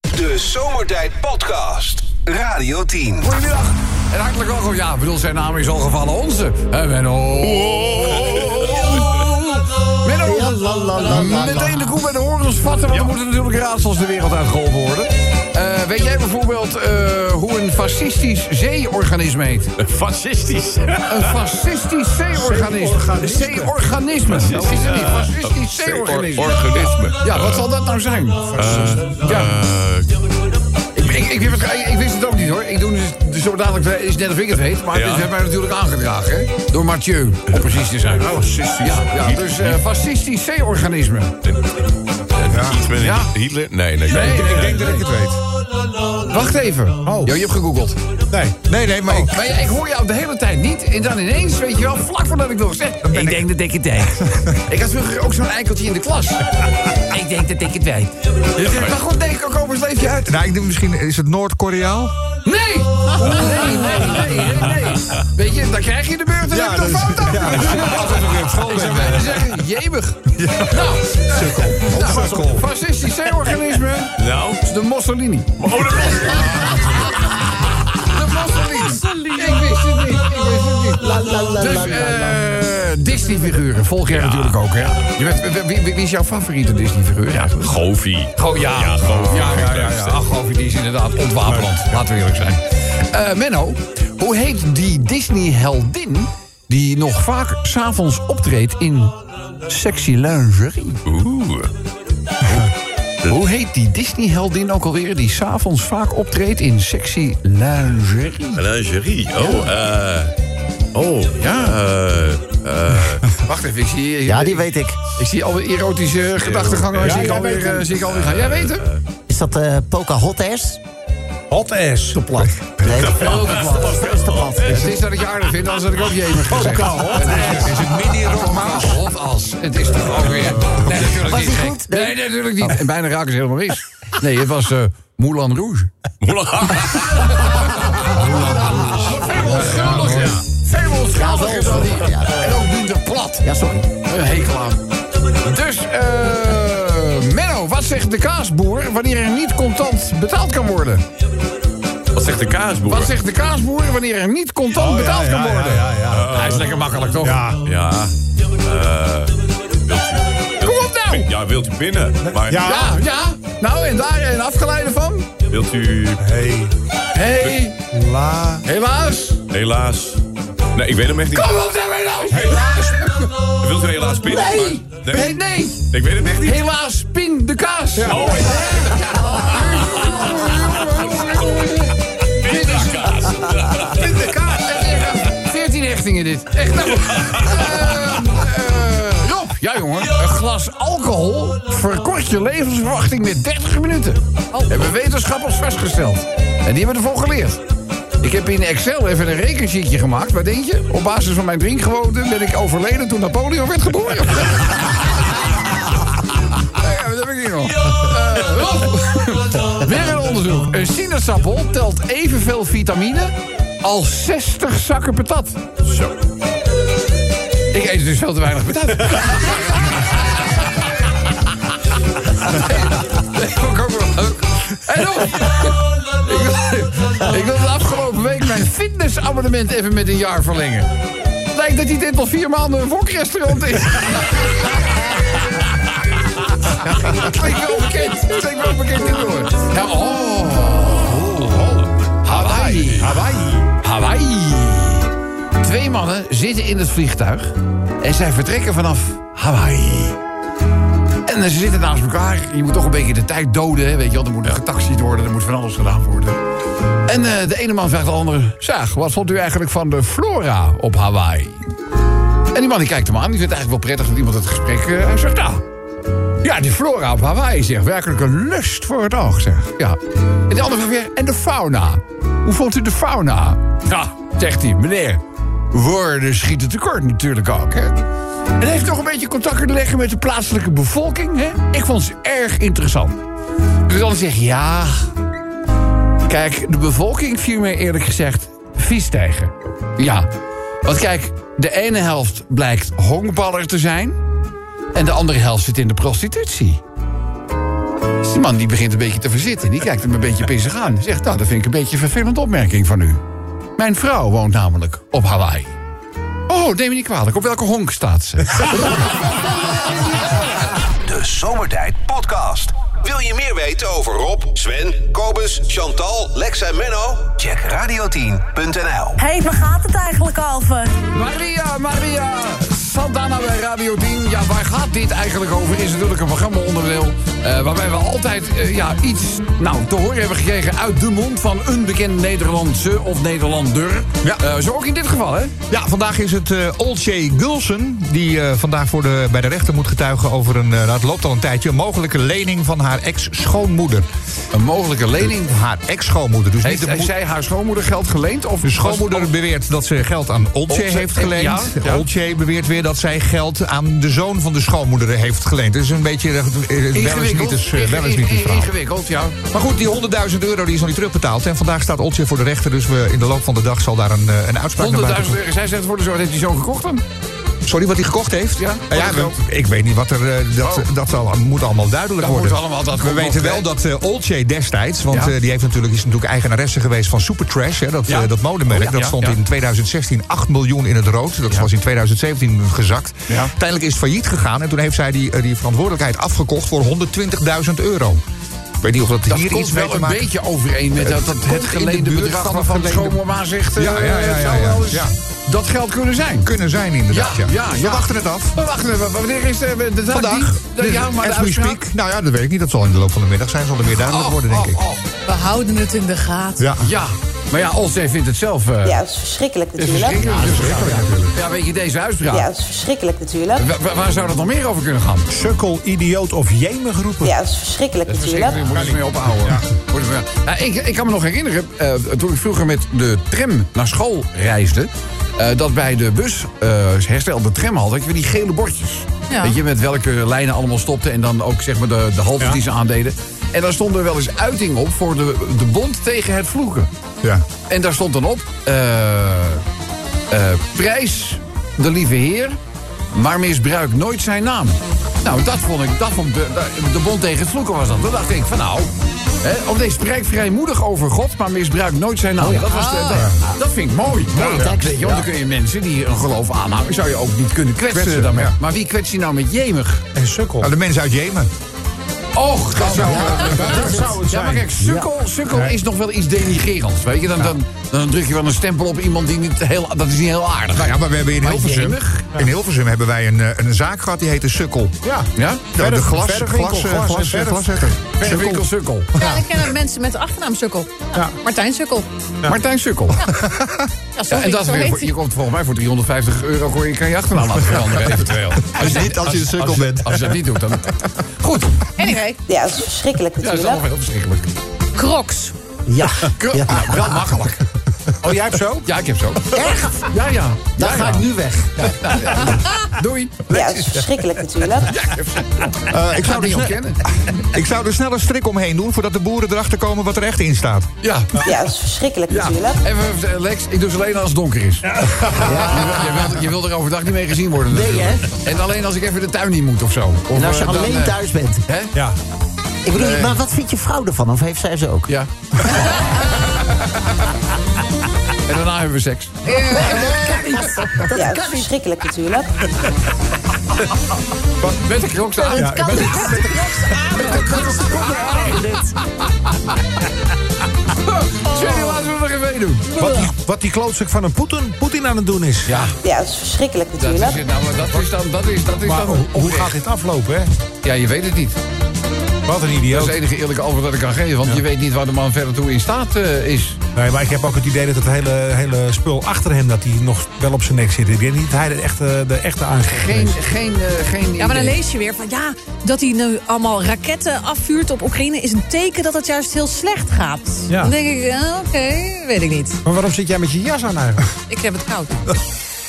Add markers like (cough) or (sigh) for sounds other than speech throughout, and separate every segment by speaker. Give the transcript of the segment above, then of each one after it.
Speaker 1: De Zomertijd Podcast. Radio 10.
Speaker 2: Goedemiddag en hartelijk welkom. Ja, ik bedoel, zijn naam is al gevallen onze. En Menno. Menno. Meteen de koe bij de horens vatten, want er moeten natuurlijk raadsels de wereld uitgeholpen worden. Eh, weet jij bijvoorbeeld eh, hoe een fascistisch zeeorganisme heet?
Speaker 3: Fascistisch.
Speaker 2: Een fascistisch zeeorganisme. Zeeorganisme. Dat is het niet. Fascistisch zeeorganisme.
Speaker 3: Organisme.
Speaker 2: Ja, wat zal dat nou zijn? Ja.
Speaker 3: Eh,
Speaker 2: Ik, ik, ik, wist het, ik- ik wist het ook niet hoor. Ik doe dus, dus zo dadelijk eh, is net of ik het weet. Maar
Speaker 3: Ja.
Speaker 2: dit werd mij natuurlijk aangedragen. Hè? Door Mathieu, om precies te zijn. Fascistisch. Ja, ja dus eh fascistisch C-organisme.
Speaker 3: Iets met een
Speaker 2: Ja.
Speaker 3: Hitler? Nee, nee,
Speaker 2: Nee, ik denk
Speaker 4: dat ik het weet.
Speaker 2: Wacht even.
Speaker 4: Oh.
Speaker 2: Jo, je hebt gegoogeld.
Speaker 4: Nee, nee, nee maar ik...
Speaker 2: Maar ja, ik hoor jou de hele tijd niet. En dan ineens, weet je wel, vlak voordat ik wil zeggen. Ik, denk dat ik het weet. (laughs) ik had vroeger ook zo'n eikeltje in de klas. ik denk dat ik het weet. Dus, eh, maar goed, denk ik ook, over leef je uit.
Speaker 4: Nou, ik doe misschien... Is het Noord-Koreaal?
Speaker 2: Nee! Nee, nee, nee, nee, nee. Weet je, dan krijg je de beurt en heb
Speaker 4: Ja,
Speaker 2: je toch
Speaker 4: dat is-
Speaker 2: fout
Speaker 4: ja, dat is-
Speaker 2: Altijd weer op school. Ik zou bijna zeggen, jemig. Nou,
Speaker 4: Sukkel.
Speaker 2: nou, fascistisch organisme.
Speaker 3: Nou.
Speaker 2: De Mussolini.
Speaker 3: Oh, dat was-
Speaker 2: De Mussolini. Ik wist het niet, ik wist het niet. Dus, eh, Disney-figuren volg jij natuurlijk ook, hè? Je bent, wie, wie- wie is jouw favoriete Disney-figuur eigenlijk?
Speaker 3: Goofy.
Speaker 2: Oh ja.
Speaker 3: Ja, Goofy.
Speaker 2: Ja, ja, ja. ja. Ach, Goofy, die is inderdaad ontwapend. Laten we eerlijk zijn. Eh, Menno, hoe heet die Disney-heldin... die nog vaak s'avonds optreedt in sexy lingerie?
Speaker 3: Oeh.
Speaker 2: Hoe heet die Disney-heldin ook alweer... die s'avonds vaak optreedt in sexy lingerie?
Speaker 3: Lingerie. Oh, eh. Oh, ja. eh, eh,
Speaker 2: Wacht even, ik zie...
Speaker 5: Ja, die weet ik.
Speaker 2: Ik zie alweer erotische gedachtegangen.
Speaker 4: Ja,
Speaker 2: zie, ik
Speaker 4: jij
Speaker 2: alweer,
Speaker 4: weet hem.
Speaker 2: eh, zie ik alweer gaan. Jij weet hem?
Speaker 5: Is dat eh Pocahontas?
Speaker 4: Hot ass.
Speaker 5: Plat. Nee, dat is ook plat. Dat is te plat.
Speaker 2: Het is dat ik je aardig vind, anders had ik ook jemig gezegd. Het is- is het mini rockmaas? Hot als. Het is toch ook weer... Nee, natuurlijk
Speaker 5: Was
Speaker 2: niet.
Speaker 5: die
Speaker 2: gek.
Speaker 5: goed?
Speaker 2: Nee,
Speaker 5: Nee.
Speaker 2: nee, natuurlijk niet. En bijna raken ze helemaal mis. Nee, het was eh Moulin Rouge.
Speaker 3: Moulin
Speaker 2: Veel onschuldiger. Veel onschuldiger dan die. En ook minder plat.
Speaker 5: Ja, sorry.
Speaker 2: Een hekel aan. Dus, eh Menno, wat zegt de kaasboer wanneer er niet contant betaald kan worden?
Speaker 3: (laughs) Wat zegt de kaasboer?
Speaker 2: Wat zegt de kaasboer wanneer er niet contant
Speaker 4: Oh, ja,
Speaker 2: betaald kan
Speaker 4: ja,
Speaker 2: worden?
Speaker 4: ja, ja, ja.
Speaker 2: Hij is lekker makkelijk, toch?
Speaker 4: Ja.
Speaker 3: Ja. eh, wilt u- wilt
Speaker 2: Kom
Speaker 3: u-
Speaker 2: op nou!
Speaker 3: Ja, wilt u binnen? Maar
Speaker 4: Ja.
Speaker 2: Ja, ja. Nou, en daar een afgeleide van?
Speaker 3: wilt u
Speaker 4: Hey.
Speaker 2: Hé,
Speaker 4: La.
Speaker 2: helaas.
Speaker 3: helaas... Nee, ik weet hem echt niet.
Speaker 2: Kom op daarmee nou!
Speaker 3: Helaas. Wilt u helaas binnen?
Speaker 2: Nee!
Speaker 3: Maar-
Speaker 2: Nee, nee.
Speaker 3: Ik weet hem echt niet.
Speaker 2: Helaas, pin de kaas.
Speaker 3: Oh, ik-
Speaker 2: Dit is Pin de kaas. Echt, 14 hechtingen dit. Echt nou. Eh, eh, Rob, ja jongen, een glas alcohol verkort je levensverwachting met 30 minuten. Hebben wetenschappers vastgesteld. En die hebben ervoor geleerd. Ik heb in Excel even een rekensheetje gemaakt. Wat denk je? Op basis van mijn drinkgewoonten ben ik overleden toen Napoleon werd geboren. (laughs) Ja, dat heb ik niet nog. Eh, Rob, weer een onderzoek. Een sinaasappel telt evenveel vitamine als 60 zakken patat.
Speaker 3: Zo.
Speaker 2: Ik eet dus veel te weinig patat. Nee, nee, vond ik ook wel leuk. En Rob, ik wil- ik wil de afgelopen week mijn fitnessabonnement even met een jaar verlengen. Lijkt dat die dit al vier maanden een wokrestaurant is. Klinkt wel bekend. Klinkt wel bekend in hoor. Ja, oh. Hawaii.
Speaker 4: Hawaii.
Speaker 2: Hawaii. Twee mannen zitten in het vliegtuig en zij vertrekken vanaf Hawaii. En ze zitten naast elkaar. Je moet toch een beetje de tijd doden, hè, weet je wel. Er moet getaxied worden, er moet van alles gedaan worden. En eh, de ene man vraagt de andere... Zeg, wat vond u eigenlijk van de flora op Hawaii? En die man die kijkt hem aan. Die vindt het eigenlijk wel prettig dat iemand het gesprek eh, Hij zegt... Nou, ja, die flora op Hawaii zegt werkelijk een lust voor het oog, zeg. Ja. En de andere vraagt weer, en de fauna? Hoe vond u de fauna? Ja, zegt hij, meneer. Woorden schieten tekort natuurlijk ook, hè. En heeft nog een beetje contact kunnen leggen met de plaatselijke bevolking, hè? Ik vond ze erg interessant. Dus dan zeg je, ja... Kijk, de bevolking viel mij eerlijk gezegd vies tegen. Ja, want kijk, de ene helft blijkt honkballer te zijn... En de andere helft zit in de prostitutie. Dus Die man die begint een beetje te verzitten. Die kijkt hem een beetje pissig aan. Zegt, nou, dat vind ik een beetje een vervelende opmerking van u. Mijn vrouw woont namelijk op Hawaii. Oh, neem me niet kwalijk. Op welke honk staat ze?
Speaker 1: De Zomertijd Podcast. Wil je meer weten over Rob, Sven, Kobus, Chantal, Lex en Menno? Check radio10.nl.
Speaker 6: Hé, hey, waar gaat het eigenlijk over?
Speaker 2: Maria, Maria, Santana bij Radio 10. Ja, waar gaat dit eigenlijk over? Is natuurlijk een programma-onderdeel eh, waarbij we altijd eh, ja, iets nou, te horen hebben gekregen uit de mond van een bekend Nederlandse of Nederlander.
Speaker 4: Ja.
Speaker 2: Eh, zo ook in dit geval, hè?
Speaker 4: Ja, vandaag is het eh Olcay Gulsen. Die eh, vandaag voor de, bij de rechter moet getuigen over een. eh, nou, het loopt al een tijdje. Een mogelijke lening van haar ex-schoonmoeder.
Speaker 2: Een mogelijke lening.
Speaker 4: Haar ex-schoonmoeder. Dus niet
Speaker 2: Heeft
Speaker 4: de
Speaker 2: heeft
Speaker 4: moed-
Speaker 2: zij haar schoonmoeder geld geleend? Of
Speaker 4: De schoonmoeder beweert dat ze geld aan Olcay
Speaker 2: Olcay,
Speaker 4: heeft geleend.
Speaker 2: ja, Oh. ja.
Speaker 4: Olcay beweert weer dat zij geld aan de zoon van de schoonmoeder heeft geleend. Het is een beetje... eh, eh, Wel eens niet
Speaker 2: Ingewikkeld.
Speaker 4: eens, eh, wel eens niet
Speaker 2: Inge-
Speaker 4: eens
Speaker 2: inge-
Speaker 4: verhaal.
Speaker 2: Ingewikkeld, ja.
Speaker 4: Maar goed, die 100.000 euro die is nog niet terugbetaald. En vandaag staat Olcay voor de rechter. Dus we, in de loop van de dag zal daar een, eh, een uitspraak naar buiten
Speaker 2: 100.000 euro. Zij zegt voor de zorg, heeft die zoon gekocht dan?
Speaker 4: komen. Sorry, wat hij gekocht heeft?
Speaker 2: Ah, Ja,
Speaker 4: Nou ja
Speaker 2: wat het
Speaker 4: we- ik weet niet wat er... eh, dat
Speaker 2: Oh.
Speaker 4: dat zal- moet allemaal duidelijk
Speaker 2: Dat
Speaker 4: worden.
Speaker 2: moet allemaal, dat
Speaker 4: we
Speaker 2: komt
Speaker 4: weten
Speaker 2: nog,
Speaker 4: wel
Speaker 2: hè?
Speaker 4: dat eh Olcay destijds... want
Speaker 2: Ja.
Speaker 4: eh, die heeft natuurlijk, is natuurlijk eigenaresse geweest van Supertrash. Hè, dat,
Speaker 2: Ja.
Speaker 4: eh, dat modemerk.
Speaker 2: Oh, ja,
Speaker 4: dat
Speaker 2: ja,
Speaker 4: stond
Speaker 2: ja.
Speaker 4: in 2016 8 miljoen in het rood. Dat
Speaker 2: Ja.
Speaker 4: was in 2017 gezakt.
Speaker 2: Ja.
Speaker 4: Uiteindelijk is het failliet gegaan. En toen heeft zij die, eh, die verantwoordelijkheid afgekocht voor 120.000 euro. Ik weet niet of dat,
Speaker 2: Dat
Speaker 4: hier
Speaker 2: komt
Speaker 4: iets mee
Speaker 2: wel
Speaker 4: te
Speaker 2: een
Speaker 4: maken
Speaker 2: beetje overeen met dat, dat
Speaker 4: komt in
Speaker 2: het
Speaker 4: de
Speaker 2: geleende
Speaker 4: buurt
Speaker 2: bedrag
Speaker 4: van
Speaker 2: van,
Speaker 4: het
Speaker 2: van
Speaker 4: geleende-
Speaker 2: schoonmama zegt... eh,
Speaker 4: Ja, ja, ja,
Speaker 2: het zou
Speaker 4: ja, ja.
Speaker 2: wel eens
Speaker 4: Ja.
Speaker 2: Dat geld kunnen zijn.
Speaker 4: kunnen zijn inderdaad.
Speaker 2: Ja,
Speaker 4: Ja,
Speaker 2: ja, ja.
Speaker 4: We wachten het af.
Speaker 2: Maar wacht even, wanneer is de, de dag
Speaker 7: Nou,
Speaker 4: Vandaag.
Speaker 2: die- de- ja, maar de
Speaker 4: As we
Speaker 2: uitspraak-
Speaker 4: speak. Nou ja, dat weet ik niet. Dat zal in de loop van de middag zijn. Zal er weer duidelijk
Speaker 2: Oh,
Speaker 4: worden, denk
Speaker 2: oh,
Speaker 4: ik.
Speaker 2: oh.
Speaker 6: We houden het in de gaten.
Speaker 4: Ja.
Speaker 2: Ja, maar ja, Olzee vindt het zelf... eh,
Speaker 8: Ja, dat is verschrikkelijk
Speaker 2: is
Speaker 8: natuurlijk.
Speaker 2: verschrikkelijk. Ja, natuurlijk. Ja, weet je, deze uitspraak.
Speaker 8: Ja, dat is verschrikkelijk natuurlijk.
Speaker 2: Wa- wa- waar zou dat nog meer over kunnen gaan?
Speaker 7: Sukkel, idioot of jemig roepen.
Speaker 8: Ja, dat is verschrikkelijk
Speaker 2: Dat is
Speaker 8: natuurlijk.
Speaker 2: verschrikkelijk, moet je mee ophouden. Moet je mee- Nou, ik, ik kan me nog herinneren, eh, toen ik vroeger met de tram naar school reisde... eh, dat bij de bus eh, herstelde tram had, dat je weer die gele bordjes.
Speaker 6: Ja.
Speaker 2: Weet je, met welke lijnen allemaal stopten en dan ook zeg maar de, de haltes die ze aandeden. En daar stond er wel eens uiting op voor de, de bond tegen het vloeken.
Speaker 4: Ja.
Speaker 2: En daar stond dan op... eh, eh, prijs de lieve heer, maar misbruik nooit zijn naam. Nou, dat vond ik, dat vond de, de bond tegen het vloeken was dat. Toen dacht ik van nou, hè, of deze spreekt vrijmoedig over God, maar misbruik nooit zijn naam. dat, was de- dat, Ah. dat vind ik mooi. Mooi tekst. Weet je, want dan kun je mensen die een geloof aanhouden, zou je ook niet kunnen kwetsen,
Speaker 4: Kwetsen,
Speaker 2: daarmee.
Speaker 4: ja.
Speaker 2: Maar wie kwets je nou met jemig?
Speaker 7: En sukkel.
Speaker 4: Nou, de mensen uit Jemen.
Speaker 2: Och, dat zou, dat
Speaker 7: zou het
Speaker 2: Ja, maar
Speaker 7: zijn.
Speaker 2: kijk, sukkel, sukkel is nog wel iets denigerends, weet je. Dan, dan, dan druk je wel een stempel op iemand die niet heel... Dat is niet heel aardig.
Speaker 4: Nou ja, maar we hebben in
Speaker 2: Maar
Speaker 4: Hilversum...
Speaker 2: jemig?
Speaker 4: In Hilversum hebben wij een, eh, een zaak gehad die heette Sukkel.
Speaker 7: Ja.
Speaker 2: Ja?
Speaker 4: De, de
Speaker 7: Verf,
Speaker 4: glas, glas,
Speaker 7: verfwinkel,
Speaker 4: glas,
Speaker 7: glas,
Speaker 4: glas,
Speaker 7: verf.
Speaker 4: glaszetter. Sukkel.
Speaker 2: Sukkel, sukkel.
Speaker 9: Ja, ik ken ook mensen met de achternaam Sukkel.
Speaker 7: Ja.
Speaker 9: Martijn Sukkel.
Speaker 2: Martijn Sukkel.
Speaker 9: Ja,
Speaker 2: Ja,
Speaker 9: sorry,
Speaker 2: en dat is
Speaker 9: zo
Speaker 2: weer
Speaker 9: heet
Speaker 2: voor-
Speaker 9: hij.
Speaker 2: je komt volgens mij voor 350 euro kon je, kan je achternaam laten veranderen eventueel. Als je,
Speaker 4: niet als je een sukkel
Speaker 2: als-
Speaker 4: bent.
Speaker 2: Als je dat niet doet, dan... Goed,
Speaker 9: Anyway,
Speaker 8: Ja, dat is verschrikkelijk
Speaker 2: ja, dat is allemaal
Speaker 8: natuurlijk.
Speaker 2: heel verschrikkelijk.
Speaker 9: Crocs.
Speaker 5: Ja,
Speaker 2: Kru-
Speaker 5: Ja.
Speaker 2: Ah, wel makkelijk.
Speaker 7: Oh, jij hebt zo?
Speaker 2: Ja, ik heb zo.
Speaker 5: echt?
Speaker 2: Ja, ja.
Speaker 5: Dan
Speaker 2: Ja,
Speaker 5: ga
Speaker 2: ja.
Speaker 5: ik nu weg.
Speaker 2: Doei.
Speaker 8: Ja, dat is verschrikkelijk natuurlijk.
Speaker 4: (laughs) Eh,
Speaker 7: Nou,
Speaker 2: Ik zou
Speaker 4: ik, zou
Speaker 2: die
Speaker 4: er
Speaker 2: ook
Speaker 4: sne-
Speaker 2: kennen.
Speaker 4: ik zou er snel een strik omheen doen... voordat de boeren erachter komen wat er echt in staat.
Speaker 2: Ja.
Speaker 8: Ja, dat is verschrikkelijk
Speaker 2: Ja,
Speaker 8: natuurlijk.
Speaker 2: even eh, Lex, ik doe ze alleen als het donker is. Je, wil- je wilt, je wilt er overdag niet mee gezien worden natuurlijk. En alleen als ik even de tuin in moet of zo. Of,
Speaker 5: En Nou, als je
Speaker 2: eh, dan,
Speaker 5: alleen
Speaker 2: eh,
Speaker 5: thuis bent.
Speaker 2: Hè?
Speaker 7: Ja.
Speaker 5: Ik bedoel, maar wat vindt je vrouw ervan? Of heeft zij ze ook?
Speaker 2: Ja. (laughs) en daarna hebben we seks.
Speaker 8: Ja, dat is verschrikkelijk natuurlijk.
Speaker 2: Met de klok staan.
Speaker 7: Ja, ik ben-
Speaker 2: Jenny, laten we het nog even één doen.
Speaker 7: wat, die, wat die klootzak van een Poetin, Poetin aan het doen is.
Speaker 2: Ja,
Speaker 8: Ja, dat is verschrikkelijk
Speaker 2: dat is
Speaker 8: natuurlijk.
Speaker 2: het. Nou, maar dat is dan... Dat is, dat is
Speaker 7: Maar
Speaker 2: dan
Speaker 7: hoe, hoe
Speaker 2: oprecht.
Speaker 7: gaat dit aflopen, hè?
Speaker 2: Ja, je weet het niet.
Speaker 7: Wat een
Speaker 2: Dat is
Speaker 7: idioot.
Speaker 2: het enige eerlijke antwoord dat ik kan geven. Want je weet niet waar de man verder toe in staat eh, is.
Speaker 7: Nee, maar ik heb ook het idee dat het hele, hele spul achter hem... dat hij nog wel op zijn nek zit. Ik denk niet dat hij de echte, de echte aangeeft
Speaker 2: Geen,
Speaker 7: is.
Speaker 2: geen, eh, geen
Speaker 9: Ja, maar dan
Speaker 2: idee.
Speaker 9: lees je weer van ja, dat hij nu allemaal raketten afvuurt op Oekraïne is een teken dat het juist heel slecht gaat.
Speaker 7: Ja.
Speaker 9: Dan denk ik, ja, oké, weet ik niet.
Speaker 7: Maar waarom zit jij met je jas aan eigenlijk?
Speaker 9: Ik heb het koud.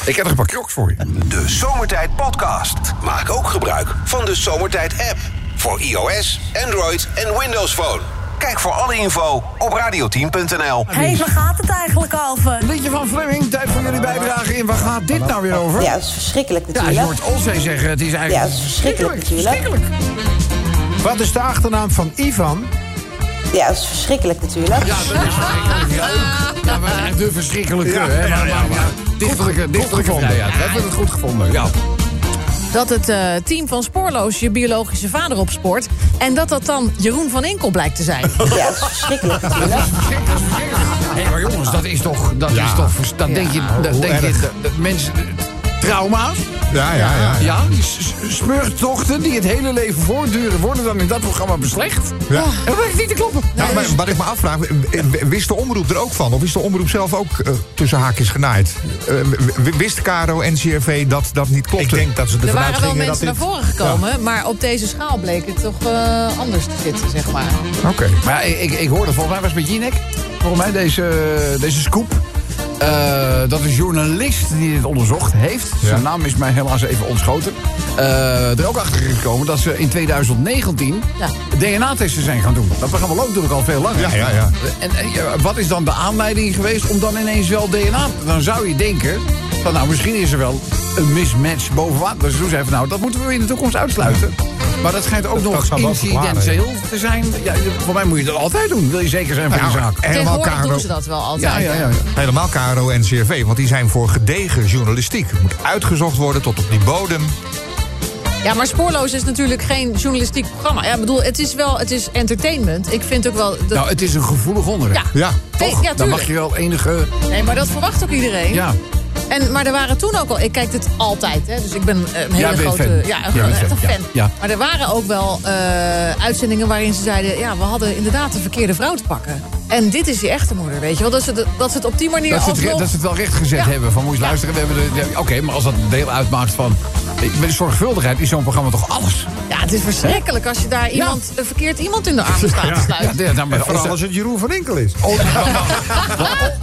Speaker 2: Ik heb nog een paar crocs voor je.
Speaker 1: De Zomertijd Podcast. Maak ook gebruik van de Zomertijd app. Voor iOS, Android en Windows Phone. Kijk voor alle info op radio10.nl.
Speaker 6: Hé, hey, waar gaat het eigenlijk over?
Speaker 2: Een beetje van Fleming, tijd voor jullie bijdrage in. Waar gaat dit nou weer over?
Speaker 8: Ja, dat is verschrikkelijk
Speaker 2: Ja, je
Speaker 8: natuurlijk.
Speaker 2: hoort Olzee zeggen, het is
Speaker 8: Ja,
Speaker 2: eigenlijk
Speaker 8: dat is verschrikkelijk natuurlijk.
Speaker 2: verschrikkelijk.
Speaker 7: Wat is de achternaam van Ivan?
Speaker 8: Ja, dat is verschrikkelijk natuurlijk.
Speaker 2: Ja, dat is leuk. Ja, maar echt de verschrikkelijke.
Speaker 7: Ja,
Speaker 2: hè,
Speaker 7: ja,
Speaker 2: maar,
Speaker 7: ja,
Speaker 2: maar, maar, dichterlijke, dichterlijke
Speaker 7: gevonden.
Speaker 2: vrijheid. We hebben het goed gevonden. Ja.
Speaker 9: Dat het eh, team van Spoorloos je biologische vader opspoort. En dat dat dan Jeroen van Enkel blijkt te
Speaker 2: (laughs)
Speaker 9: zijn.
Speaker 8: Ja, dat is verschrikkelijk natuurlijk.
Speaker 2: Hé, maar jongens, dat is toch... Dat is toch vers- dat denk je... Dat
Speaker 7: hoe
Speaker 2: denk je
Speaker 7: erg.
Speaker 2: dat- dat mensen... Trauma's,
Speaker 7: Ja, ja, ja.
Speaker 2: ja, die s- s- smurftochten die het hele leven voortduren... worden dan in dat programma beslecht.
Speaker 4: Ja.
Speaker 2: En dat blijkt niet te kloppen.
Speaker 4: Nou, maar wat ik me afvraag, w- w- wist de omroep er ook van? Of is de omroep zelf ook eh, tussen haakjes genaaid? Eh, w- w- wist Caro en CRV dat dat niet klopte?
Speaker 7: Ik denk dat ze
Speaker 9: Er
Speaker 7: ervan
Speaker 9: waren wel
Speaker 7: uitgingen dat
Speaker 9: mensen naar
Speaker 7: dit...
Speaker 9: voren gekomen, maar op deze schaal bleek het toch eh, anders te zitten, zeg maar.
Speaker 4: Oké.
Speaker 2: Maar ja, ik, ik, ik hoorde, volgens mij was het met Jinek, volgens mij deze, deze scoop. eh, dat een journalist die dit onderzocht heeft, zijn naam is mij helaas even ontschoten, eh, er ook achter gekomen dat ze in 2019
Speaker 9: Ja.
Speaker 2: DNA-testen zijn gaan doen. Dat programma loopt natuurlijk al veel langer.
Speaker 4: Ja, ja, ja.
Speaker 2: En, eh, ja, wat is dan de aanleiding geweest om dan ineens wel DNA? Dan zou je denken, van, nou misschien is er wel een mismatch boven water. Dus toen zei van nou, dat moeten we in de toekomst uitsluiten. Maar dat schijnt ook nog
Speaker 7: zou wel verklaren,
Speaker 2: incidenteel te zijn. Ja, voor mij moet je dat altijd doen. Wil je zeker zijn van
Speaker 4: Nou,
Speaker 2: je zaak?
Speaker 4: helemaal
Speaker 9: Tegenwoordig
Speaker 4: Caro,
Speaker 9: doen ze dat wel altijd.
Speaker 2: Ja, ja, ja. ja.
Speaker 4: helemaal Caro en CRV, want die zijn voor gedegen journalistiek. Het moet uitgezocht worden tot op die bodem.
Speaker 9: Ja, maar Spoorloos is natuurlijk geen journalistiek programma. Ja, ik bedoel, het is wel, het is entertainment. Ik vind ook wel... Dat...
Speaker 2: Nou, het is een gevoelig onderwerp.
Speaker 9: ja, Nee, ja,
Speaker 2: Dan mag
Speaker 9: tuurlijk.
Speaker 2: je wel enige...
Speaker 9: Nee, maar dat verwacht ook iedereen.
Speaker 2: Ja,
Speaker 9: En, maar er waren toen ook al... Ik kijk dit altijd, hè. Dus ik ben eh, een hele
Speaker 2: bent
Speaker 9: grote...
Speaker 2: fan.
Speaker 9: Ja, een,
Speaker 2: Jij bent
Speaker 9: echt een
Speaker 2: fan,
Speaker 9: fan.
Speaker 2: ja. Ja.
Speaker 9: Maar er waren ook wel eh, uitzendingen waarin ze zeiden... Ja, we hadden inderdaad de verkeerde vrouw te pakken. En dit is die echte moeder, weet je wel. Dat ze, het- dat ze het op die manier
Speaker 2: dat ze, het, re-
Speaker 9: alsnog...
Speaker 2: dat ze het wel recht gezet
Speaker 9: Ja.
Speaker 2: hebben. Van moet je eens luisteren. We hebben de- de- Oké, maar als dat een deel uitmaakt van... eh, Met zorgvuldigheid is zo'n programma toch alles?
Speaker 9: Ja, het is verschrikkelijk als je daar iemand, een verkeerd iemand in de
Speaker 2: (laughs)
Speaker 9: armen staat te
Speaker 2: Ja,
Speaker 9: sluiten.
Speaker 2: ja, nou, maar
Speaker 7: Vooral
Speaker 2: Olse-
Speaker 7: als het Jeroen van Enkel is.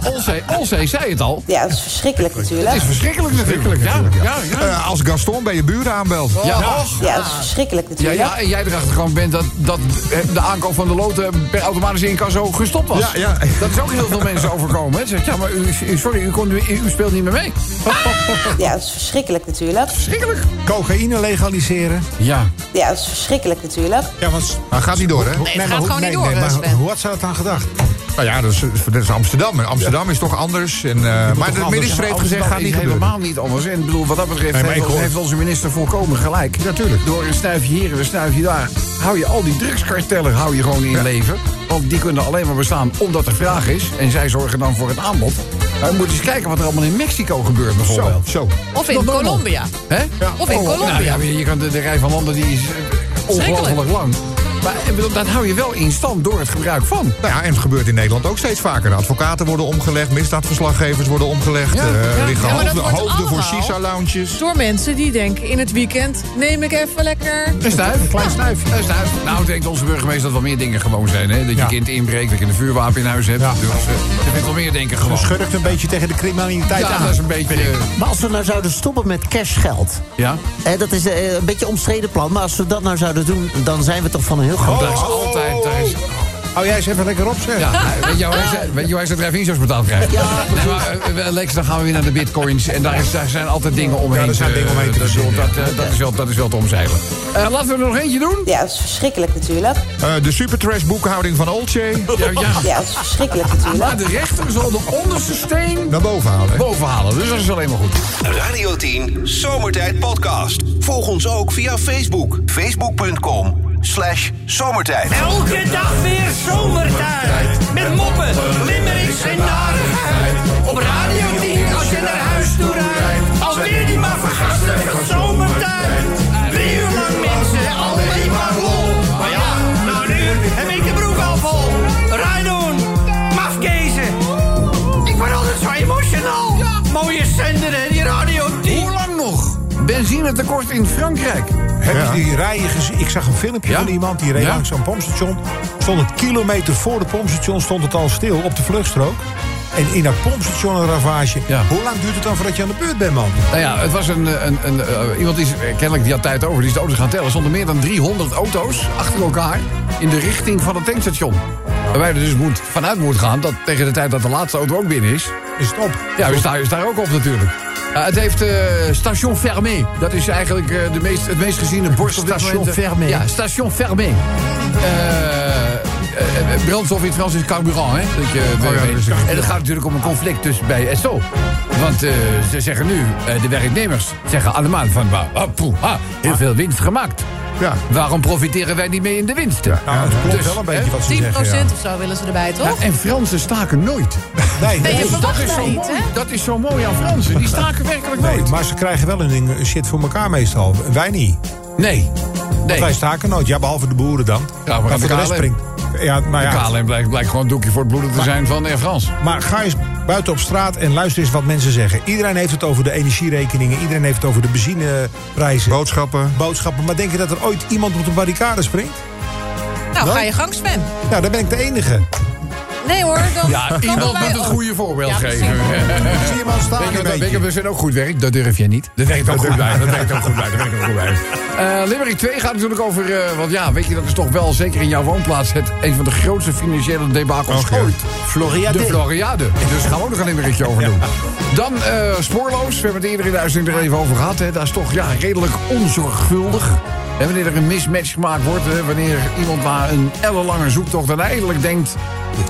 Speaker 2: Olse- Olse zei het al.
Speaker 8: Ja, dat is verschrikkelijk
Speaker 2: Het
Speaker 8: natuurlijk.
Speaker 2: is verschrikkelijk natuurlijk. Ja, ja, ja.
Speaker 4: Eh, als Gaston bij je buren aanbelt.
Speaker 2: Ja, och.
Speaker 8: Ja, dat is verschrikkelijk
Speaker 2: Ja,
Speaker 8: natuurlijk.
Speaker 2: ja, en jij erachter gewoon bent dat, dat eh, de aankoop van de loten per automatische incasso gestopt was.
Speaker 4: Ja, ja.
Speaker 2: Dat is ook heel veel mensen overkomen. Hè. Zegt, ja, maar u, u- sorry, u, kon, u, u speelt niet meer mee.
Speaker 8: Ja, dat is verschrikkelijk natuurlijk.
Speaker 2: Schrikkelijk.
Speaker 7: Cocaïne legaliseren.
Speaker 2: Ja.
Speaker 8: Ja, dat is verschrikkelijk natuurlijk.
Speaker 7: Ja, want...
Speaker 4: Maar gaat niet door, hè?
Speaker 9: Nee, het gaat gewoon niet door,
Speaker 7: maar
Speaker 9: Sven.
Speaker 7: hoe had ze dat dan gedacht?
Speaker 4: Nou ja, dat is, dat is Amsterdam. En Amsterdam is toch anders. En, eh, maar de minister heeft gezegd, gaat niet
Speaker 2: is
Speaker 4: gebeuren.
Speaker 2: helemaal niet anders. En ik bedoel, wat dat betreft
Speaker 7: Nee, maar
Speaker 2: heeft,
Speaker 7: ik hoor-
Speaker 2: heeft onze minister volkomen gelijk.
Speaker 4: Natuurlijk.
Speaker 2: Door een snuifje hier en een snuifje daar. Hou je al die drugskartellen hou je gewoon in leven. Want die kunnen alleen maar bestaan omdat er vraag is. En zij zorgen dan voor het aanbod. Maar we moeten eens kijken wat er allemaal in Mexico gebeurt
Speaker 4: Zo,
Speaker 2: bijvoorbeeld.
Speaker 4: zo.
Speaker 9: Of in Colombia.
Speaker 2: Hè?
Speaker 9: Of in
Speaker 2: Oh,
Speaker 9: Colombia.
Speaker 2: Nou, ja, maar je kan de, de rij van landen die is eh, ongelooflijk
Speaker 9: Schrikkelijk.
Speaker 2: lang. Maar ik bedoel, dat hou je wel in stand door het gebruik van.
Speaker 4: Nou ja, en het gebeurt in Nederland ook steeds vaker. De advocaten worden omgelegd, misdaadverslaggevers worden omgelegd.
Speaker 2: Ja,
Speaker 4: eh,
Speaker 2: ja.
Speaker 4: er liggen
Speaker 9: Ja, maar dat
Speaker 4: hoofden,
Speaker 9: wordt
Speaker 4: hoofden voor
Speaker 9: allemaal-
Speaker 4: shisha-lounges.
Speaker 9: Door mensen die denken in het weekend neem ik even lekker.
Speaker 2: Een stuif. Een klein stuif. Een stuif. Nou, denkt onze burgemeester dat wel meer dingen gewoon zijn. Hè? Dat je
Speaker 7: Ja.
Speaker 2: kind inbreekt, dat je een vuurwapen in huis hebt.
Speaker 7: Ja.
Speaker 2: Dus, eh, er vindt wel meer denken gewoon.
Speaker 7: Schurkt een beetje tegen de criminaliteit
Speaker 2: Ja,
Speaker 7: aan.
Speaker 2: dat is een beetje... eh,
Speaker 5: Maar als we nou zouden stoppen met cashgeld...
Speaker 2: ja.
Speaker 5: Hè, dat is eh, een beetje een omstreden plan, maar als we dat nou zouden doen... dan zijn we toch van een heel groot...
Speaker 2: Dat is altijd... daar is-
Speaker 7: Hou Oh, jij eens even lekker op, zeg.
Speaker 2: Ja, nou, weet je hoe hij (laughs) zijn- weet je hoe hij zijn drijfvingers betaald krijgt? nee, maar, eh, Lex, dan gaan we weer naar de bitcoins. En daar, is, daar zijn altijd dingen omheen.
Speaker 7: Ja, er zijn
Speaker 2: te-
Speaker 7: dingen omheen te
Speaker 2: dat,
Speaker 7: verzinnen,
Speaker 2: dat, eh, dat is wel, dat is wel te omzeilen. Eh, laten we er nog eentje doen.
Speaker 8: Ja, dat is verschrikkelijk natuurlijk.
Speaker 4: Eh, de supertrash boekhouding van Olcay
Speaker 2: Ja, ja.
Speaker 8: Ja, dat is verschrikkelijk
Speaker 2: Maar
Speaker 8: natuurlijk.
Speaker 2: de rechter zal de onderste steen
Speaker 4: naar boven halen.
Speaker 2: boven halen. Dus dat is alleen maar goed.
Speaker 1: Radio 10 Zomertijd Podcast. Volg ons ook via Facebook. Facebook.com slash zomertijd.
Speaker 10: Elke dag weer zomertijd. Met moppen, limmerings en narigheid. Op Radio 10 als je naar huis toe rijdt. Alweer die maar vergastige zomertijd. Drie uur lang mensen, alleen maar lol. Maar ja, nou nu heb ik de broek al vol. Rijdoen, mafkezen. Ik word altijd zo emotional. Mooie zender hè, die Radio 10.
Speaker 2: Hoe lang nog? Benzinetekort in Frankrijk.
Speaker 7: Heb je die rijen gezien? Ik zag een filmpje
Speaker 2: Ja.
Speaker 7: van iemand die reed
Speaker 2: Ja.
Speaker 7: langs zo'n pompstation. Stond het kilometer voor de pompstation stond het al stil op de vluchtstrook. En in dat pompstation een ravage.
Speaker 2: Ja.
Speaker 7: Hoe lang duurt het dan voordat je aan de beurt bent, man?
Speaker 2: Nou ja, het was een, eh, een, een eh, iemand die is, eh, kennelijk die had tijd over. Die is de auto's gaan tellen. Er stonden meer dan 300 auto's achter elkaar in de richting van het tankstation. Waarbij er dus moet, vanuit moet gaan dat tegen de tijd dat de laatste auto ook binnen is...
Speaker 7: Is het op? Nou,
Speaker 2: Ja, we staan, we staan ook op natuurlijk. Eh, het heeft eh, Station Fermé. Dat is eigenlijk eh, de meest, het meest geziene borst op dit
Speaker 5: Station
Speaker 2: moment. eh.
Speaker 5: Fermé.
Speaker 2: Ja, Station Fermé. Eh, eh, eh, brandstof in het Frans is carburant, hè? Dat je, eh,
Speaker 7: Oh, is carburant.
Speaker 2: en het gaat natuurlijk om een conflict dus bij Esso. Want eh, ze zeggen nu, eh, de werknemers zeggen allemaal van... "Wa- ah, poeh, ah, heel veel winst gemaakt.
Speaker 7: Ja.
Speaker 2: Waarom profiteren wij niet mee in de winsten?
Speaker 7: Nou, het klopt wel een beetje
Speaker 2: hè,
Speaker 7: wat ze
Speaker 9: 10%
Speaker 7: zeggen. ja.
Speaker 9: of zo willen ze erbij, toch?
Speaker 2: Ja, en Fransen staken nooit.
Speaker 7: Nee,
Speaker 9: Nee,
Speaker 7: dat
Speaker 9: je
Speaker 7: is-
Speaker 9: verwacht dat
Speaker 2: zo
Speaker 9: niet,
Speaker 2: mooi.
Speaker 9: hè?
Speaker 2: Dat is zo mooi aan Fransen. Die staken werkelijk
Speaker 7: nee,
Speaker 2: nooit.
Speaker 7: maar ze krijgen wel hun ding- shit voor elkaar meestal. Wij niet.
Speaker 2: Nee. Nee.
Speaker 7: Wij staken nooit. Ja, behalve de boeren dan.
Speaker 2: maar aan
Speaker 7: maar
Speaker 2: de
Speaker 7: voor de rest
Speaker 2: KLM.
Speaker 7: springt. Ja, nou ja.
Speaker 2: KLM blijkt, blijkt gewoon een doekje voor het bloeden te zijn van Air France.
Speaker 7: Maar ga eens buiten op straat en luister eens wat mensen zeggen. Iedereen heeft het over de energierekeningen. Iedereen heeft het over de benzineprijzen.
Speaker 4: Boodschappen.
Speaker 7: boodschappen. Maar denk je dat er ooit iemand op de barricade springt?
Speaker 9: Nou, ga je gang, Sven.
Speaker 7: Nou, dan ben ik de enige.
Speaker 9: Nee hoor, dan
Speaker 2: Ja,
Speaker 9: komen
Speaker 2: iemand
Speaker 9: wij
Speaker 2: moet het
Speaker 9: ook.
Speaker 2: goede voorbeeld
Speaker 9: Ja, precies.
Speaker 2: geven.
Speaker 7: Zie je maar staan
Speaker 2: Weet je
Speaker 7: een
Speaker 2: wat- weet je
Speaker 7: beetje.
Speaker 2: wat we zijn ook goed werk, dat durf jij niet. Dat werkt ook goed bij, (laughs) dat werkt ook goed bij, dat werkt ook goed bij. Eh, Limerick 2 gaat natuurlijk over, eh, want ja, weet je, dat is toch wel zeker in jouw woonplaats het, een van de grootste financiële debakels
Speaker 7: Och, ja.
Speaker 2: ooit.
Speaker 5: Floriade.
Speaker 2: De Floriade. Dus gaan we ook nog een limerickje over doen. Dan eh, spoorloos. We hebben het eerder in de uitzending er even over gehad. Hè. Dat is toch ja, redelijk onzorgvuldig. En wanneer er een mismatch gemaakt wordt. Hè, wanneer iemand na een ellenlange zoektocht uiteindelijk denkt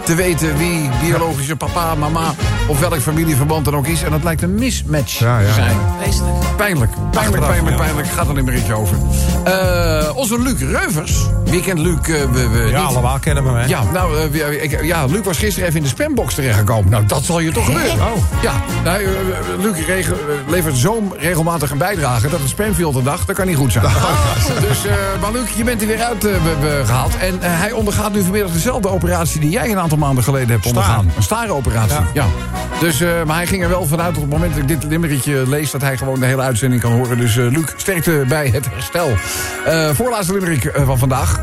Speaker 2: te weten wie biologische papa, mama of welk familieverband dan ook is. En dat lijkt een mismatch
Speaker 4: Ja, ja.
Speaker 2: te zijn. Pijnlijk. Pijnlijk, pijnlijk, pijnlijk. Gaat er een beetje over. Eh, onze Luc Reuvers. Wie kent Luc? eh, we, we
Speaker 7: Ja,
Speaker 2: niet?
Speaker 7: allemaal kennen we hem, hè?
Speaker 2: Ja, nou, eh, ja, ik, ja, Luc was gisteren even in de spambox terechtgekomen. Nou, dat zal je toch gebeuren. Ja, nou, eh, Luc rege- eh, levert zo regelmatig een bijdrage... dat het spamfilter dacht, dat kan niet goed zijn. (laughs) Dus, eh, maar Luc, je bent er weer uit eh, be- be- gehaald. En eh, hij ondergaat nu vanmiddag dezelfde operatie... die jij een aantal maanden geleden hebt ondergaan. Een starenoperatie, ja. Dus, eh, maar hij ging er wel vanuit op het moment dat ik dit limmeretje lees... dat hij gewoon de hele uitzending kan horen. Dus eh, Luc, sterkte bij het herstel. Eh, voorlaatste limmerik eh, van vandaag...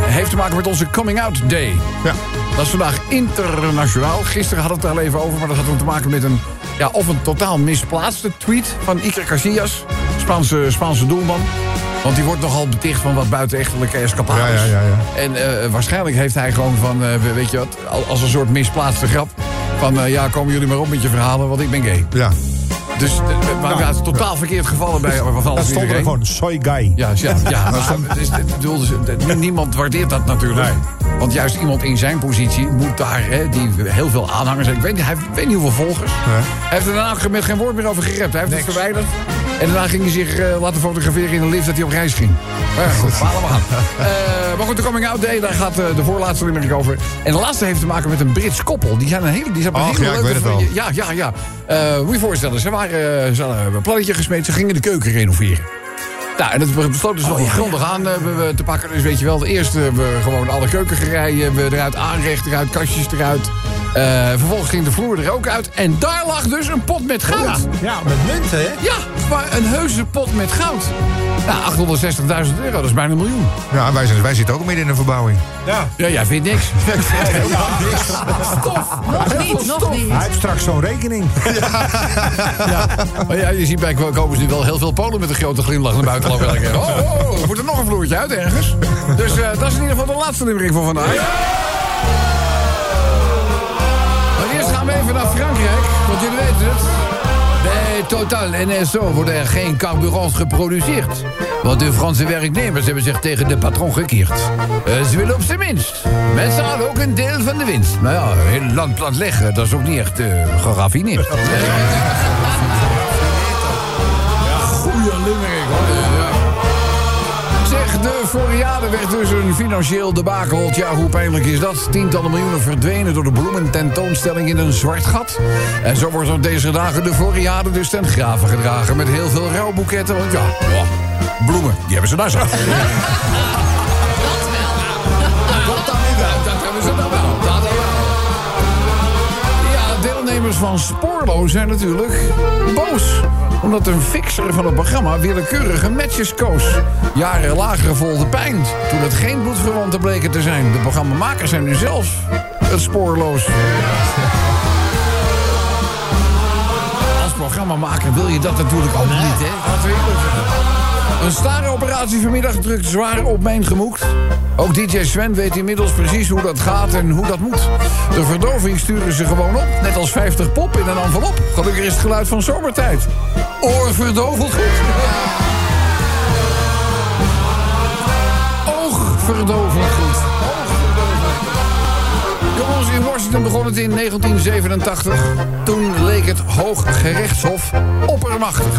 Speaker 2: Heeft te maken met onze Coming Out Day.
Speaker 4: Ja.
Speaker 2: Dat is vandaag internationaal. Gisteren hadden we het er al even over, maar dat had ook te maken met een... Ja, of een totaal misplaatste tweet van Iker Casillas, Spaanse, Spaanse doelman. Want die wordt nogal beticht van wat buitenechtelijke escapades.
Speaker 4: Ja, ja, ja, ja.
Speaker 2: En eh, waarschijnlijk heeft hij gewoon van, eh, we- weet je wat, al- als een soort misplaatste grap... van, eh, ja, komen jullie maar op met je verhalen, want ik ben gay.
Speaker 4: Ja.
Speaker 2: Dus, eh, maar
Speaker 4: Nou,
Speaker 2: ja, het is totaal verkeerd gevallen bij...
Speaker 4: (laughs)
Speaker 2: bij van
Speaker 7: Dat stond er
Speaker 2: iedereen.
Speaker 7: gewoon. Soy guy.
Speaker 2: Ja, ja, ja. maar het is- ik bedoel, dus, eh, niemand waardeert dat natuurlijk. Want juist iemand in zijn positie moet daar, hè, die heel veel aanhangers heeft. Ik weet, niet- hij heeft, ik weet niet hoeveel volgers. Hij heeft er daarna met geen woord meer over gerept. Hij heeft het verwijderd. En daarna ging hij zich eh, laten fotograferen in een lift dat hij op reis ging. Maar ja, goed, maar allemaal aan. Eh, maar goed, de coming out day, daar gaat eh, de voorlaatste limerick over. En de laatste heeft te maken met een Brits koppel. Die zijn een hele, die zijn op een
Speaker 4: Och,
Speaker 2: hele
Speaker 4: ja, ik
Speaker 2: leuke
Speaker 4: weet het
Speaker 2: vri-
Speaker 4: wel.
Speaker 2: ja, ja, ja. Eh, moet je voorstellen, ze, waren, eh, ze hadden een plannetje gesmeed. Ze gingen de keuken renoveren. Nou, en dat besloten
Speaker 7: Oh,
Speaker 2: ze nog grondig aan eh, we- we te pakken. Dus weet je wel, eerst eh, we gewoon alle keukengereien we eruit, aanrecht eruit, kastjes eruit. Eh, vervolgens ging de vloer er ook uit. En daar lag dus een pot met goud.
Speaker 7: Ja, met munten, hè?
Speaker 2: Ja, maar een heuse pot met goud. Nou, 860.000 euro, dat is bijna een miljoen.
Speaker 4: Ja, wij, zijn, wij zitten ook midden in een verbouwing.
Speaker 7: Ja.
Speaker 2: Ja, jij vindt
Speaker 7: (laughs)
Speaker 2: niks. Stof.
Speaker 9: Oh, Nog niet, nog niet.
Speaker 7: Hij heeft straks zo'n rekening.
Speaker 2: Maar ja, je ziet bij Kobus nu wel heel veel Polen met een grote glimlach naar buiten lopen. elke keer. Oh, oh, oh, moet er nog een vloertje uit ergens. Dus eh, dat is in ieder geval de laatste nummering voor vandaag. Maar eerst gaan we even naar Frankrijk, want jullie weten het. Bij Total en SO worden er geen carburants geproduceerd. Want de Franse werknemers hebben zich tegen de patron gekeerd. Eh, ze willen op zijn minst. Mensen halen ook een deel van de winst. Maar ja, heel land plat leggen, dat is ook niet echt eh, geraffineerd. Goeie limmerik, hoor. Zeg, de Floriade werd dus een financieel debakel. Ja, hoe pijnlijk is dat? Tientallen miljoenen verdwenen door de bloemententoonstelling in een zwart gat. En zo wordt op deze dagen de Floriade dus ten graven gedragen... met heel veel rouwboeketten, want ja, ja, bloemen, die hebben ze daar zo. Dat wel. Dat dan niet wel. Dat hebben ze dan wel. Dat dan wel. Ja, deelnemers van Spoorloos zijn natuurlijk boos. Omdat een fixer van het programma willekeurige matches koos. Jaren lager volde pijn toen het geen bloedverwanten bleken te zijn. De programmamakers zijn nu zelf het spoorloos. Als programma maken wil je dat natuurlijk ook niet, hè? Een stare operatie vanmiddag drukt zwaar op mijn gemoed. Ook DJ Sven weet inmiddels precies hoe dat gaat en hoe dat moet. De verdoving sturen ze gewoon op, net als 50 pop in een envelop. Gelukkig is het geluid van zomertijd. Oorverdovend goed. Oogverdovend goed. Jongens, in Washington begon het in 1987. Toen leek het Hooggerechtshof oppermachtig.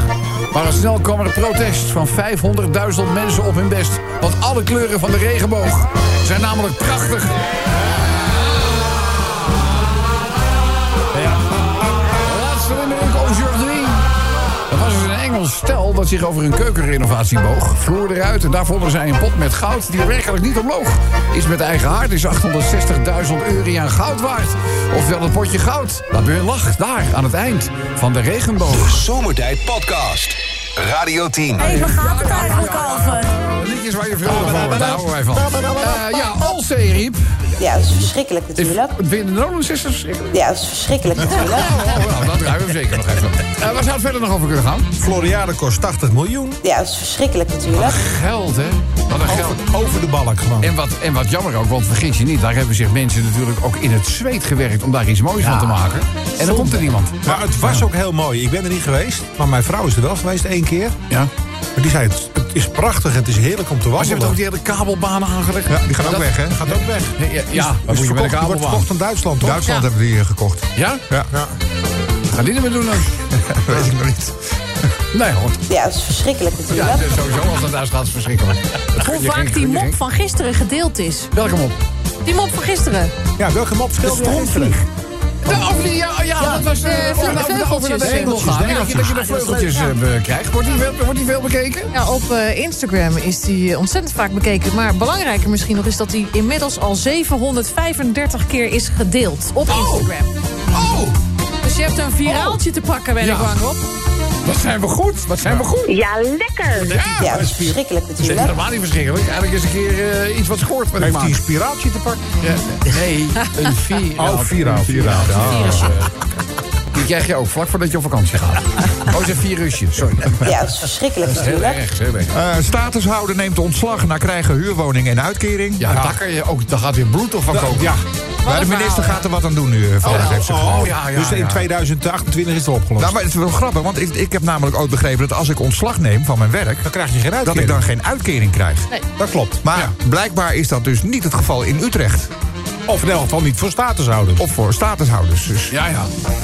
Speaker 2: Maar al snel kwam er protest van 500.000 mensen op hun best. Want alle kleuren van de regenboog zijn namelijk prachtig. Laatste indruk, Ocean of Dream. Dat was dus een Engels stel dat zich over een keukenrenovatie boog. Vloer eruit en daar vonden zij een pot met goud die werkelijk niet omloog. Is met eigen hart is 860.000 euro aan goud waard. Ofwel het potje goud. Dat weer lag daar aan het eind van de regenboog.
Speaker 1: Zomertijd Podcast. Radio 10.
Speaker 6: Hé, waar gaat het eigenlijk over?
Speaker 2: Liedjes waar je vrolijk van wordt, daar houden wij van. Eh, ja, Alzee riep.
Speaker 8: Ja, dat is verschrikkelijk natuurlijk.
Speaker 2: Vinden de Nolan Sisters verschrikkelijk?
Speaker 8: Ja, dat is verschrikkelijk natuurlijk.
Speaker 2: Oh, nou, dat ruimen we zeker nog even. Eh, waar zou het verder nog over kunnen gaan?
Speaker 7: Floriade kost 80 miljoen.
Speaker 8: Ja, dat is verschrikkelijk natuurlijk.
Speaker 2: Geld, hè? Wat een geld.
Speaker 7: Over, over de balk gewoon.
Speaker 2: En wat, en wat jammer ook, want vergis je niet, daar hebben zich mensen natuurlijk ook in het zweet gewerkt om daar iets moois van te maken. En dan komt er niemand.
Speaker 7: Maar het was ook heel mooi. Ik ben er niet geweest, maar mijn vrouw is er wel geweest één keer.
Speaker 2: Ja.
Speaker 7: Maar die zei, het, het is prachtig, het is heerlijk om te
Speaker 2: Maar
Speaker 7: wandelen.
Speaker 2: ze hebben ook die hele kabelbanen aangelegd.
Speaker 4: Ja, die gaan ook
Speaker 2: Dat-
Speaker 4: weg, hè?
Speaker 7: Gaat ook weg.
Speaker 2: Ja, ja, ja wat
Speaker 7: Is
Speaker 2: moet je met een
Speaker 7: verkocht- wordt
Speaker 2: kabelbaan?
Speaker 7: verkocht aan Duitsland, toch?
Speaker 4: Duitsland
Speaker 9: Ja.
Speaker 4: hebben die eh, gekocht.
Speaker 2: Ja?
Speaker 4: Ja,
Speaker 7: (laughs)
Speaker 4: ja.
Speaker 2: Ga die ermee doen dan?
Speaker 4: weet ik nog niet.
Speaker 2: Nee, goed.
Speaker 8: Ja, dat is verschrikkelijk
Speaker 2: Ja, dus
Speaker 8: natuurlijk.
Speaker 2: sowieso als dat daar staat is verschrikkelijk. Dat kun
Speaker 9: Hoe
Speaker 2: je geen-
Speaker 9: vaak die
Speaker 2: kun je
Speaker 9: mop
Speaker 2: geen-
Speaker 9: van gisteren gedeeld is.
Speaker 2: Welkom op.
Speaker 9: Die mop van gisteren.
Speaker 7: Ja, welke mop speelt jij gisteren?
Speaker 2: Ja, of die, ja, ja, dat was... eh,
Speaker 9: eh,
Speaker 2: of- of- of- of-
Speaker 9: vleugeltjes.
Speaker 2: of- of- naar de hemel gaan.
Speaker 9: Vleugeltjes,
Speaker 2: Dat je dat je de vleugeltjes eh, krijgt. Wordt die, wel- wordt die veel bekeken?
Speaker 9: Ja, op eh, Instagram is die eh, ontzettend vaak bekeken. Maar belangrijker misschien nog is dat die inmiddels al 735 keer is gedeeld op Instagram.
Speaker 2: Oh,
Speaker 9: Dus je hebt een viraaltje te pakken, ben
Speaker 2: Ja.
Speaker 9: ik bang op.
Speaker 2: wat zijn we goed. Wat zijn we goed.
Speaker 10: Ja, lekker.
Speaker 2: Ja,
Speaker 8: Ja,
Speaker 2: dat
Speaker 8: dat is
Speaker 2: is
Speaker 8: verschrikkelijk
Speaker 2: Dit is
Speaker 8: natuurlijk.
Speaker 2: helemaal niet verschrikkelijk. Eigenlijk is een keer eh, iets wat scoort met
Speaker 7: Heeft
Speaker 2: maak.
Speaker 7: hij een spiraaltje te pakken?
Speaker 2: Ja, nee, (laughs) een viraal.
Speaker 7: Oh, viraal,
Speaker 2: Een Oh,
Speaker 7: viraal.
Speaker 2: eh. Die krijg je ook vlak voordat je op vakantie (laughs) gaat. Oh, is een virusje. Sorry.
Speaker 8: Ja, dat is verschrikkelijk
Speaker 2: Heel
Speaker 8: natuurlijk.
Speaker 2: erg, heel erg.
Speaker 4: Eh, statushouder neemt ontslag na krijgen huurwoning en uitkering.
Speaker 2: Ja, daar kan je ook, daar gaat weer bloed toch van komen.
Speaker 7: Ja.
Speaker 4: Maar de minister gaat er wat aan doen nu, eh, vandaag heeft ze gezegd.
Speaker 2: Oh, ja, ja,
Speaker 7: dus in
Speaker 2: ja.
Speaker 7: 2028 is het al opgelost.
Speaker 4: Nou, maar het is wel grappig, want ik, ik heb namelijk ooit begrepen... dat als ik ontslag neem van mijn werk...
Speaker 7: dan krijg je geen
Speaker 4: dat
Speaker 7: uitkering.
Speaker 4: ik dan geen uitkering krijg.
Speaker 7: Dat klopt.
Speaker 4: Maar blijkbaar is dat dus niet het geval in Utrecht.
Speaker 7: Of in elk geval niet voor statushouders.
Speaker 4: Of voor statushouders. Dus.
Speaker 2: Ja, ja.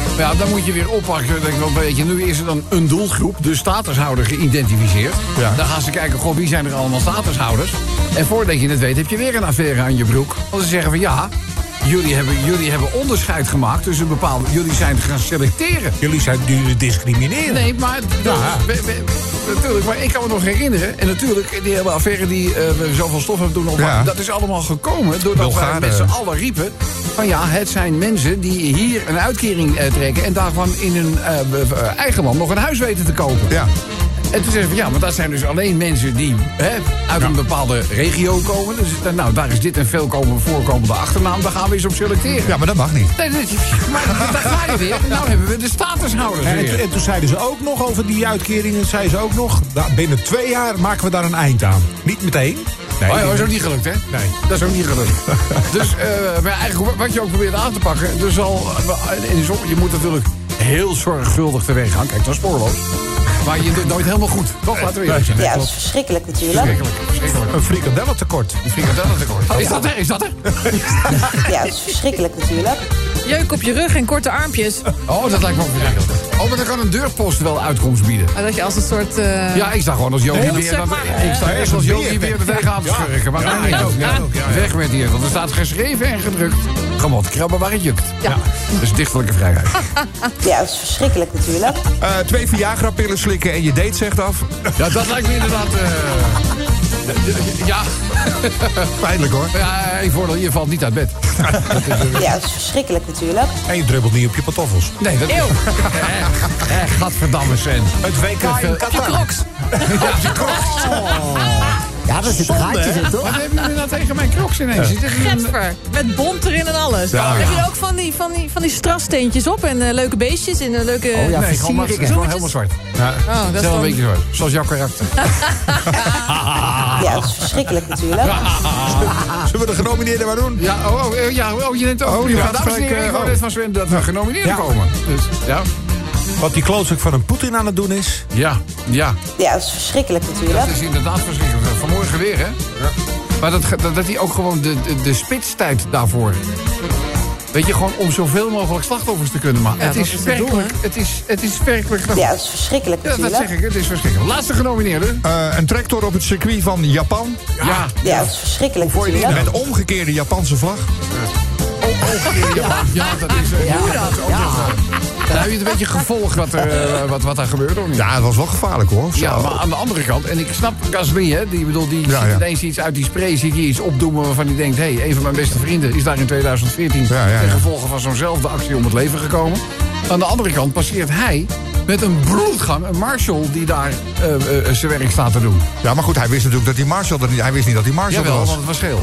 Speaker 2: Maar ja, dan moet je weer oppakken. Dan Denk ik, wel, weet je, nu is er dan een doelgroep, de statushouder, geïdentificeerd.
Speaker 4: Ja.
Speaker 2: Dan gaan ze kijken, goh, wie zijn er allemaal statushouders? En voordat je het weet, heb je weer een affaire aan je broek. Want ze zeggen van ja, jullie hebben, jullie hebben onderscheid gemaakt tussen bepaalde... Jullie zijn gaan selecteren.
Speaker 7: Jullie zijn jullie discrimineren.
Speaker 2: Nee, maar,
Speaker 7: Ja.
Speaker 2: we- we- natuurlijk, maar ik kan me nog herinneren. En natuurlijk, die hele affaire die eh, we zoveel stof hebben doen opmaken...
Speaker 4: Ja.
Speaker 2: dat is allemaal gekomen doordat
Speaker 4: Bulgaren.
Speaker 2: wij met z'n allen riepen... van ja, het zijn mensen die hier een uitkering eh, trekken... en daarvan in hun eh, be- eh, eigen land nog een huis weten te kopen.
Speaker 4: Ja.
Speaker 2: En toen zeggen we, ja, maar dat zijn dus alleen mensen die hè, uit een bepaalde regio komen. Dus eh, nou, daar is dit en veel komen, voorkomende achternaam. Daar gaan we eens op selecteren.
Speaker 4: ja, maar dat mag niet.
Speaker 2: Nee, dat, maar daar ga je weer. Nou hebben we de statushouders
Speaker 7: En,
Speaker 2: weer.
Speaker 7: en toen zeiden ze ook nog over die uitkeringen. Zeiden ze ook nog. nou, binnen twee jaar maken we daar een eind aan. Niet meteen. Nee.
Speaker 2: Oh ja, dat is ook niet gelukt, hè?
Speaker 7: Nee.
Speaker 2: Dat is ook niet (laughs) gelukt. dus eh, maar eigenlijk wat je ook probeert aan te pakken... Dus al, in som- je moet natuurlijk heel zorgvuldig te werk gaan. Kijk, dat is spoorloos. Maar je doet nooit helemaal goed. Toch, laten we eerlijk zijn.
Speaker 8: Ja, dat is verschrikkelijk natuurlijk.
Speaker 2: Verschrikkelijk, verschrikkelijk.
Speaker 7: Een frikandellentekort.
Speaker 2: Een frikandellentekort. Oh, Is dat er? Is dat er?
Speaker 8: Ja, dat is verschrikkelijk natuurlijk.
Speaker 9: Jeuk op je rug en korte
Speaker 2: (laughs)
Speaker 9: armpjes.
Speaker 2: Oh, dat lijkt me ook verschrikkelijk. Oh, maar dan kan een deurpost wel uitkomst bieden.
Speaker 9: Maar dat je als een soort... eh,
Speaker 2: Ja, ik sta gewoon als Jokie
Speaker 9: Nee,
Speaker 2: weer...
Speaker 9: zeg
Speaker 2: dat-
Speaker 9: maar,
Speaker 2: Ik sta
Speaker 7: eh,
Speaker 2: echt als
Speaker 7: een
Speaker 2: Jokie
Speaker 7: beer.
Speaker 2: weer er tegenaan te schurken. Maar maakt niet
Speaker 7: ja,
Speaker 2: uit.
Speaker 7: ja, ook, ja, ja.
Speaker 2: Weg met die, want er staat geschreven en gedrukt. Gewoon krabben waar het jukt. Ja. Dat is dichtelijke vrijheid.
Speaker 8: Ja, dat is verschrikkelijk natuurlijk.
Speaker 4: Eh, twee Viagra-pillen slikken en je date zegt af.
Speaker 2: (laughs) Ja, dat lijkt me inderdaad. eh (laughs) ja,
Speaker 4: Pijnlijk hoor.
Speaker 2: ja, één voordeel, je valt niet uit bed.
Speaker 8: Ja, dat is verschrikkelijk natuurlijk.
Speaker 7: En je drubbelt niet op je pantoffels.
Speaker 2: Nee, dat is. Eh, eh, Gadverdamme, Sven.
Speaker 7: Het WK
Speaker 2: in
Speaker 7: in
Speaker 2: Qatar.
Speaker 7: Qatar.
Speaker 2: Ja, je krocht.
Speaker 5: Ja, daar zitten
Speaker 2: Zonde,
Speaker 5: gaatjes
Speaker 2: hè?
Speaker 5: in, toch?
Speaker 2: Wat hebben jullie nou tegen mijn crocs ineens? Is dit een-
Speaker 9: Getver, met bont erin en alles.
Speaker 2: Ja.
Speaker 9: Heb je ook van die, van die, van die strassteentjes op en eh, leuke beestjes en eh, leuke...
Speaker 5: Oh ja,
Speaker 2: Nee, gewoon, maar, het is
Speaker 5: versieringen.
Speaker 2: gewoon helemaal zwart.
Speaker 9: Oh, dat is
Speaker 2: Zelf een
Speaker 9: dan-
Speaker 2: beetje zwart. Zoals jouw karakter.
Speaker 8: Ja, dat is verschrikkelijk natuurlijk.
Speaker 4: Zullen we de genomineerden maar doen?
Speaker 2: Ja, oh, oh, eh, ja, oh je neemt ook.
Speaker 4: Oh,
Speaker 2: Oh,
Speaker 4: die
Speaker 2: ja,
Speaker 4: gaat
Speaker 2: dames en
Speaker 4: gelijk,
Speaker 2: heren, ik
Speaker 4: eh,
Speaker 2: hoor
Speaker 4: oh.
Speaker 2: net van Sven dat we genomineerd
Speaker 7: Ja.
Speaker 2: komen. Dus, ja.
Speaker 7: Wat die klootzak van een Poetin aan het doen is.
Speaker 2: Ja, ja.
Speaker 8: Ja, dat is verschrikkelijk
Speaker 2: Dat
Speaker 8: natuurlijk.
Speaker 2: is inderdaad verschrikkelijk. Vanmorgen weer, hè? Maar dat, ge- dat, dat hij ook gewoon de, de, de spitstijd daarvoor... Weet je, gewoon om zoveel mogelijk slachtoffers te kunnen maken.
Speaker 9: Ja,
Speaker 2: het,
Speaker 9: dat
Speaker 2: is
Speaker 9: is het doel,
Speaker 2: werkelijk, het, is, het is werkelijk...
Speaker 8: Ja, dat is verschrikkelijk
Speaker 2: Ja, dat zeg
Speaker 8: natuurlijk.
Speaker 2: ik, het is verschrikkelijk. Laatste genomineerde.
Speaker 4: Eh, een tractor op het circuit van Japan.
Speaker 2: Ja.
Speaker 8: Ja, dat is verschrikkelijk
Speaker 2: Voor je die
Speaker 8: natuurlijk.
Speaker 4: Met omgekeerde Japanse vlag.
Speaker 2: Ja, dat is... eh,
Speaker 9: Hoe dan?
Speaker 2: Nou, heb je het een beetje gevolgd wat, er, eh, wat, wat daar gebeurde, of niet?
Speaker 4: Ja, het was wel gevaarlijk hoor. Zo.
Speaker 2: Ja, maar aan de andere kant, en ik snap Gasly, hè, die, bedoel, die
Speaker 4: Ja,
Speaker 2: ziet
Speaker 4: ja.
Speaker 2: ineens iets uit die spray, ziet hier iets opdoemen waarvan hij denkt: hé, hey, een van mijn beste vrienden is daar in 2014
Speaker 4: Ja, ja, ja.
Speaker 2: ten gevolge van zo'nzelfde actie om het leven gekomen. Aan de andere kant passeert hij met een bloedgang, een marshal die daar eh, eh, eh, zijn werk staat te doen.
Speaker 4: Ja, maar goed, hij wist natuurlijk dat die Marshall er niet... Hij wist niet dat die Marshall
Speaker 2: Jawel,
Speaker 4: er was.
Speaker 2: want het was geel.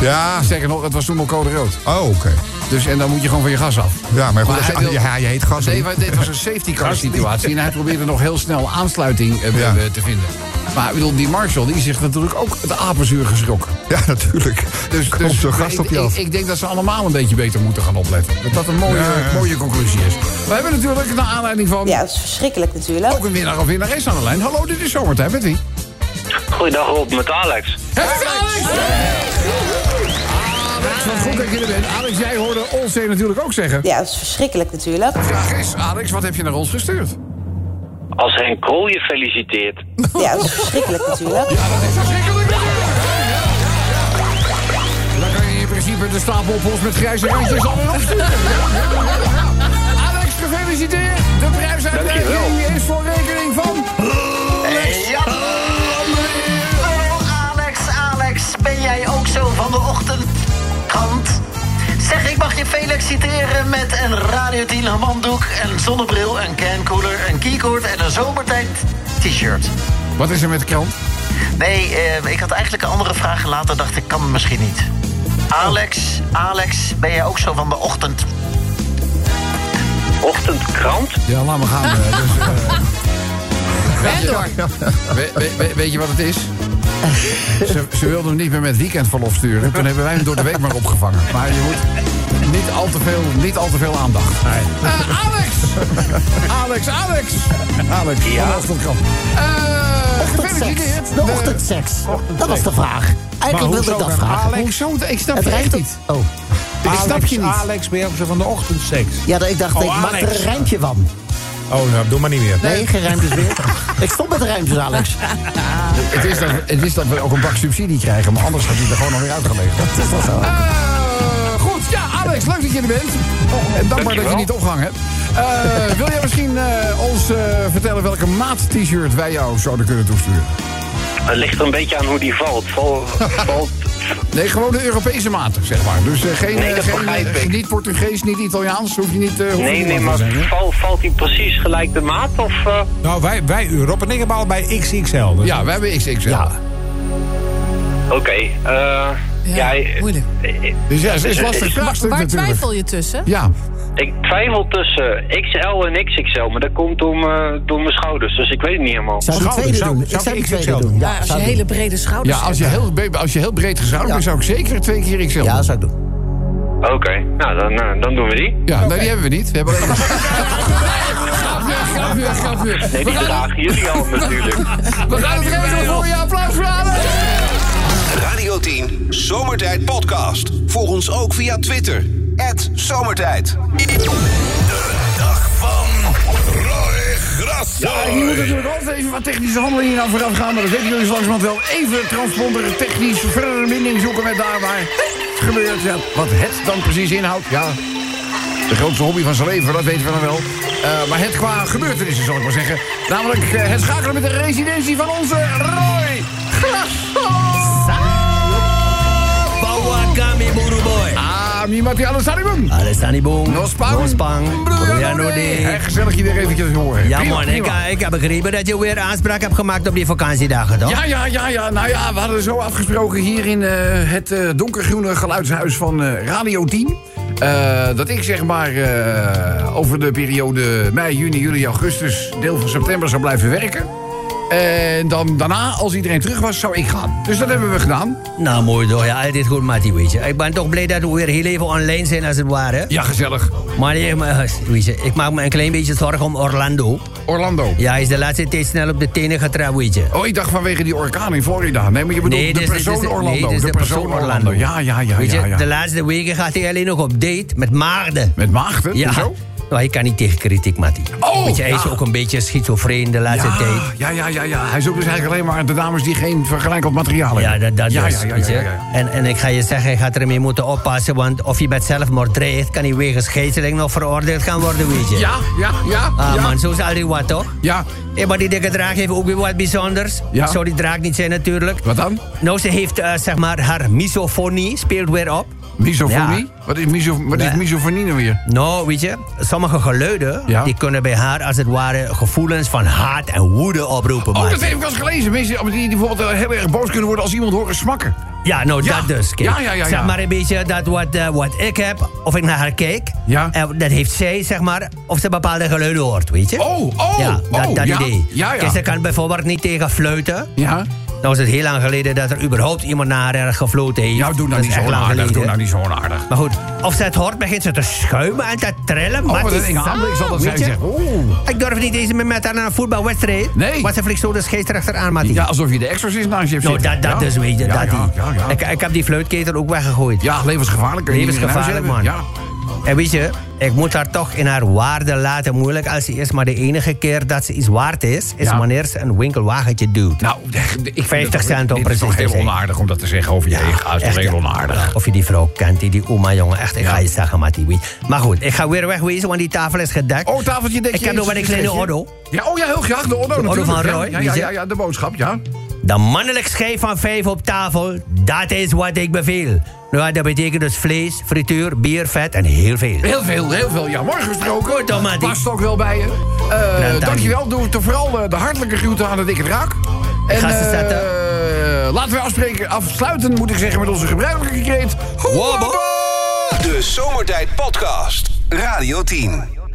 Speaker 4: Ja.
Speaker 2: Sterker nog, het was toen al code rood.
Speaker 4: Oh, oké.
Speaker 2: Dus en dan moet je gewoon van je gas af.
Speaker 4: Ja, maar goed,
Speaker 2: Maar
Speaker 4: als je,
Speaker 2: hij wil-
Speaker 4: ja, je heet gas.
Speaker 2: Nee, maar dit was een safety car situatie. En hij probeerde nog heel snel aansluiting eh,
Speaker 4: Ja.
Speaker 2: eh, te vinden. Maar ik bedoel, die Marshall die is zich natuurlijk ook de apenzuur geschrokken.
Speaker 4: Ja, natuurlijk.
Speaker 2: Dus,
Speaker 4: Dus,
Speaker 2: dus
Speaker 4: Komt zo'n gast
Speaker 2: ik-
Speaker 4: op je
Speaker 2: ik,
Speaker 4: af.
Speaker 2: ik denk dat ze allemaal een beetje beter moeten gaan opletten. Dat dat een mooie,
Speaker 4: Ja, ja.
Speaker 2: mooie conclusie is. We hebben natuurlijk naar aanleiding van
Speaker 8: Ja, dat is verschrikkelijk natuurlijk.
Speaker 2: ook een winnaar of winnares aan de lijn. Hallo, dit is zomertijd. Met wie?
Speaker 11: Goeiedag Rob, met Alex.
Speaker 2: Alex! Alex, wat goed dat je er bent. Alex, jij hoorde Olzee natuurlijk ook zeggen.
Speaker 8: Ja, dat is verschrikkelijk natuurlijk.
Speaker 2: Vraag is, Alex, wat heb je naar ons gestuurd?
Speaker 11: Als Henk Krol je feliciteert.
Speaker 8: Ja, dat is verschrikkelijk natuurlijk.
Speaker 2: Dan kan je in principe de stapel op ons met grijze randjes alweer opsturen. Alex, gefeliciteerd. De prijsuitreiking is voor rekening van...
Speaker 10: Oh, Alex, Alex, ben jij ook zo van de ochtendkant? Zeg, ik mag je feliciteren met een Radio 10 handdoek, een zonnebril, een cankoeler, een keycord en een zomertijd t-shirt.
Speaker 2: Wat is er met de krant?
Speaker 10: Nee, eh, ik had eigenlijk een andere vraag gelaten, dacht ik kan het misschien niet. Alex, Alex, ben jij ook zo van de ochtend?
Speaker 11: Ochtendkrant?
Speaker 2: Ja, laat maar gaan. eh, dus, (laughs)
Speaker 9: En door.
Speaker 2: eh, we- we- we- weet je wat het (laughs) is? Ze, ze wilden hem niet meer met weekendverlof sturen. Toen hebben wij hem door de week maar opgevangen. Maar je moet niet al te veel, niet al te veel aandacht. Eh, (laughs) Alex! Alex, Alex! Alex, ja. ochtendkrant. Eh gefeliciteerd.
Speaker 5: Ochtendseks. De ochtendseks. Dat was de vraag. Eigenlijk wilde ik dat vragen.
Speaker 2: Hoezo? eh, Ik snap
Speaker 5: Het
Speaker 2: het echt
Speaker 5: rijmt op...
Speaker 2: niet.
Speaker 5: Oh.
Speaker 2: Ik snap je niet.
Speaker 7: Alex, ben je ook zo van de ochtendseks?
Speaker 5: Ja, ik dacht, ik maak er een rijmpje van.
Speaker 7: Oh, nou, doe maar niet meer.
Speaker 5: Nee, geen rijmpjes meer. Ik stop met de rijmpjes, Alex.
Speaker 2: Het is, dat, het is dat we ook een bak subsidie krijgen, maar anders gaat hij er gewoon alweer uitgeleverd.
Speaker 5: Dat is wel zo.
Speaker 2: Eh, goed, ja, Alex, leuk dat je er bent. En dankbaar dat je niet opgehangen hebt. Eh, wil jij misschien eh, ons eh, vertellen welke maat t-shirt wij jou zouden kunnen toesturen?
Speaker 11: Het ligt er een beetje aan hoe die valt. Val- valt
Speaker 2: Nee, gewoon de Europese maten, zeg maar. Dus eh, geen,
Speaker 11: Nee, dat
Speaker 2: eh, geen,
Speaker 11: begrijp
Speaker 2: eh,
Speaker 11: ik.
Speaker 2: niet Portugees, niet Italiaans, hoef je niet... eh, hoef je
Speaker 11: nee,
Speaker 2: niet
Speaker 11: nee,
Speaker 2: wat
Speaker 11: maar
Speaker 2: te zeggen.
Speaker 11: val- valt die precies gelijk de maat? Of, eh,
Speaker 7: Nou, wij, wij Europa en ik bij XXL. Dus
Speaker 2: Ja, we hebben XXL.
Speaker 5: Ja.
Speaker 11: Oké. eh, ja, eh,
Speaker 9: moeilijk.
Speaker 11: eh,
Speaker 2: Dus ja, het is lastig
Speaker 11: Waar-
Speaker 2: vraagstuk
Speaker 9: Waar
Speaker 2: natuurlijk.
Speaker 9: twijfel je tussen?
Speaker 2: Ja,
Speaker 11: ik twijfel tussen XL en XXL, maar dat komt om, eh, door mijn schouders, dus ik weet het niet helemaal.
Speaker 5: Zou ik de
Speaker 7: Schouder,
Speaker 5: tweede
Speaker 7: zou-
Speaker 5: doen?
Speaker 7: zou
Speaker 5: Ik zou de
Speaker 7: ik
Speaker 5: tweede
Speaker 7: XXL
Speaker 5: doen.
Speaker 9: Ja, Eh, als je
Speaker 5: zou ik
Speaker 9: hele
Speaker 5: doen.
Speaker 9: brede schouders
Speaker 2: ja als, je
Speaker 9: hebt.
Speaker 2: heel, be- als je heel breed gezouden bent, zou ik zeker twee keer XL
Speaker 5: Ja, zou ik doen.
Speaker 11: Oké, nou dan, eh, dan doen we die.
Speaker 2: Ja, nou die hebben we niet. We hebben (laughs) alleen maar... Grapje, grapje, grapje.
Speaker 11: Nee,
Speaker 2: We
Speaker 11: die
Speaker 2: gaan,
Speaker 11: dragen jullie al natuurlijk.
Speaker 2: (laughs) we gaan het regelen voor je. Applaus voor Alex.
Speaker 1: Radio 10 Zomertijd Podcast. Volg ons ook via Twitter. Zomertijd.
Speaker 3: Dag van Roy Gras.
Speaker 2: Ja, hier moet natuurlijk altijd even wat technische handelingen hier aan vooraf gaan. Maar dat weten jullie langzamerhand wel. Even transponder technisch verbinding zoeken met daar waar het gebeurt. Ja, wat het dan precies inhoudt, ja... De grootste hobby van zijn leven, dat weten we dan wel. Eh, maar het qua gebeurtenissen, zal ik maar zeggen. Namelijk eh, het schakelen met de residentie van onze Roy Gras.
Speaker 10: Pauwakami Boeroeboy.
Speaker 2: Ah, niemand die alles aan die boom.
Speaker 12: Alles aan die boom.
Speaker 2: Nospang.
Speaker 12: Nospang.
Speaker 2: Broeianode. Hey, gezellig iedereen eventjes horen.
Speaker 12: Ja
Speaker 2: Prima,
Speaker 12: man, ik,
Speaker 2: prima.
Speaker 12: ik heb begrepen dat je weer aanspraak hebt gemaakt op die vakantiedagen, toch?
Speaker 2: Ja, ja, ja, ja. Nou ja, we hadden zo afgesproken hier in eh, het eh, donkergroene geluidshuis van eh, Radio 10. eh, dat ik zeg maar eh, over de periode mei, juni, juli, augustus, deel van september zou blijven werken. En dan daarna, als iedereen terug was, zou ik gaan. Dus dat hebben we gedaan.
Speaker 12: Nou, mooi toch. Ja, altijd goed, Mattie, weet je. Ik ben toch blij dat we weer heel even online zijn, als het ware.
Speaker 2: Ja, gezellig.
Speaker 12: Maar nee, maar, weet je, ik maak me een klein beetje zorgen om Orlando.
Speaker 2: Orlando?
Speaker 12: Ja, hij is de laatste tijd snel op de tenen getrapt, weet je.
Speaker 2: Oh, ik dacht vanwege die orkaan in Florida. Nee, maar je bedoelt
Speaker 12: Nee,
Speaker 2: de
Speaker 12: dus- dus-
Speaker 2: persoon
Speaker 12: dus- nee,
Speaker 2: Orlando.
Speaker 12: dus
Speaker 2: de persoon Orlando. Ja, ja, ja.
Speaker 12: Weet je,
Speaker 2: ja, ja.
Speaker 12: de laatste weken gaat hij alleen nog op date met maagden.
Speaker 2: Met maagden?
Speaker 12: Ja.
Speaker 2: Hoezo?
Speaker 12: Nou, hij kan niet tegen kritiek, Mattie.
Speaker 2: Oh,
Speaker 12: Weet je, hij is
Speaker 2: ja.
Speaker 12: ook een beetje schizofreen de laatste
Speaker 2: ja,
Speaker 12: tijd.
Speaker 2: Ja, ja, ja, ja. Hij zoekt dus eigenlijk alleen maar de dames die geen vergelijkend materiaal
Speaker 12: Ja,
Speaker 2: hebben.
Speaker 12: dat, dat
Speaker 2: ja,
Speaker 12: dus,
Speaker 2: ja, ja,
Speaker 12: weet
Speaker 2: ja,
Speaker 12: je.
Speaker 2: ja, ja.
Speaker 12: En, en ik ga je zeggen, je gaat ermee moeten oppassen... want of je met zelfmoord dreigt... kan hij wegens geesteling nog veroordeeld gaan worden, weet je.
Speaker 2: Ja, ja, ja.
Speaker 12: Ah
Speaker 2: ja.
Speaker 12: man, zo is altijd wat, toch?
Speaker 2: Ja.
Speaker 12: Ja, maar die dikke draak heeft ook weer wat bijzonders.
Speaker 2: Ja.
Speaker 12: Zou die draak niet zijn natuurlijk.
Speaker 2: Wat dan?
Speaker 12: Nou, ze heeft, eh, zeg maar, haar misofonie speelt weer op.
Speaker 2: Misofonie? Wat, is, miso, wat is
Speaker 12: Nee.
Speaker 2: misofonie nou weer?
Speaker 12: Nou, weet je, sommige geluiden...
Speaker 2: Ja.
Speaker 12: die kunnen bij haar als het ware gevoelens van haat en woede oproepen.
Speaker 2: Oh,
Speaker 12: man.
Speaker 2: dat heb ik wel eens gelezen. Mensen die, die bijvoorbeeld eh, heel erg boos kunnen worden als iemand horen smakken.
Speaker 12: Ja, nou
Speaker 2: Ja.
Speaker 12: dat dus. Kijk.
Speaker 2: Ja, ja, ja, ja.
Speaker 12: Zeg maar een beetje dat wat, eh, wat ik heb, of ik naar haar kijk.
Speaker 2: Ja.
Speaker 12: En dat heeft zij, zeg maar, of ze bepaalde geluiden hoort, weet je?
Speaker 2: Oh, oh,
Speaker 12: Ja, dat,
Speaker 2: oh,
Speaker 12: dat
Speaker 2: ja.
Speaker 12: idee.
Speaker 2: Ja, ja.
Speaker 12: Kijk, ze kan bijvoorbeeld niet tegen fluiten.
Speaker 2: Ja.
Speaker 12: Nou is het heel lang geleden dat er überhaupt iemand naar haar gefloten heeft.
Speaker 2: Ja, doe
Speaker 12: dat
Speaker 2: nou
Speaker 12: is
Speaker 2: niet zo
Speaker 12: echt lang
Speaker 2: onaardig. Doe
Speaker 12: geleden.
Speaker 2: nou niet zo onaardig.
Speaker 12: Maar goed, of ze het hoort, begint ze te schuimen en te trillen.
Speaker 2: Oh, wat
Speaker 12: is
Speaker 2: een enge handen. Ik zal dat zijn
Speaker 12: weet je?
Speaker 2: zeggen. Oeh.
Speaker 12: Ik durf niet eens meer met haar naar een voetbalwedstrijd.
Speaker 2: Nee.
Speaker 12: Want ze vliegt zo de scheester aan, Mattie.
Speaker 2: Ja, alsof je de exorcist naast je hebt
Speaker 12: Nou,
Speaker 2: zitten.
Speaker 12: dat, dat
Speaker 2: Ja.
Speaker 12: dus, weet je.
Speaker 2: Ja,
Speaker 12: dat
Speaker 2: ja,
Speaker 12: die.
Speaker 2: ja, ja.
Speaker 12: Ik, ik heb die fluitketel ook weggegooid.
Speaker 2: Ja, levensgevaarlijk. kun je niet meer in huis
Speaker 12: Levensgevaarlijk, man.
Speaker 2: hebben.
Speaker 12: En weet je, ik moet haar toch in haar waarde laten moeilijk... als ze is maar de enige keer dat ze iets waard is... is
Speaker 2: Ja.
Speaker 12: wanneer ze een winkelwagentje duwt.
Speaker 2: Ja. Nou, ik vind het
Speaker 12: 50
Speaker 2: toch-
Speaker 12: cent om
Speaker 2: dit is toch
Speaker 12: precies te
Speaker 2: heel
Speaker 12: zijn.
Speaker 2: onaardig om dat te zeggen over je eigen huis. Dat is
Speaker 12: echt,
Speaker 2: heel
Speaker 12: ja.
Speaker 2: onaardig.
Speaker 12: Of je die vrouw kent, die, die oma, jongen. Echt, ik ga je zeggen, Mattie. wie- Maar goed, ik ga weer wegwezen, want die tafel is gedekt.
Speaker 2: Oh, tafeltje dek
Speaker 12: Ik heb nog wel een kleine ordo.
Speaker 2: Ja, oh ja, heel graag. De ordo
Speaker 12: ordo
Speaker 2: natuurlijk.
Speaker 12: van
Speaker 2: ja.
Speaker 12: Roy,
Speaker 2: Ja,
Speaker 12: weet
Speaker 2: ja,
Speaker 12: je?
Speaker 2: ja, ja, de boodschap, ja.
Speaker 12: De mannelijk schijf van vijf op tafel, dat is wat ik beveel. Nou, dat betekent dus vlees, frituur, bier, vet en heel veel.
Speaker 2: Heel veel, heel veel. Ja, morgen gesproken.
Speaker 12: Goed dan, Nou, Mati.
Speaker 2: Past ook wel bij je. Eh,
Speaker 12: dank je.
Speaker 2: dankjewel. Doe toch vooral eh, de hartelijke groeten aan de dikke draak.
Speaker 12: ga ze
Speaker 2: eh,
Speaker 12: zetten.
Speaker 2: laten we afspreken, afsluiten, moet ik zeggen, met onze gebruikelijke kreet.
Speaker 12: Wobbo!
Speaker 1: De Zomertijd Podcast. Radio 10.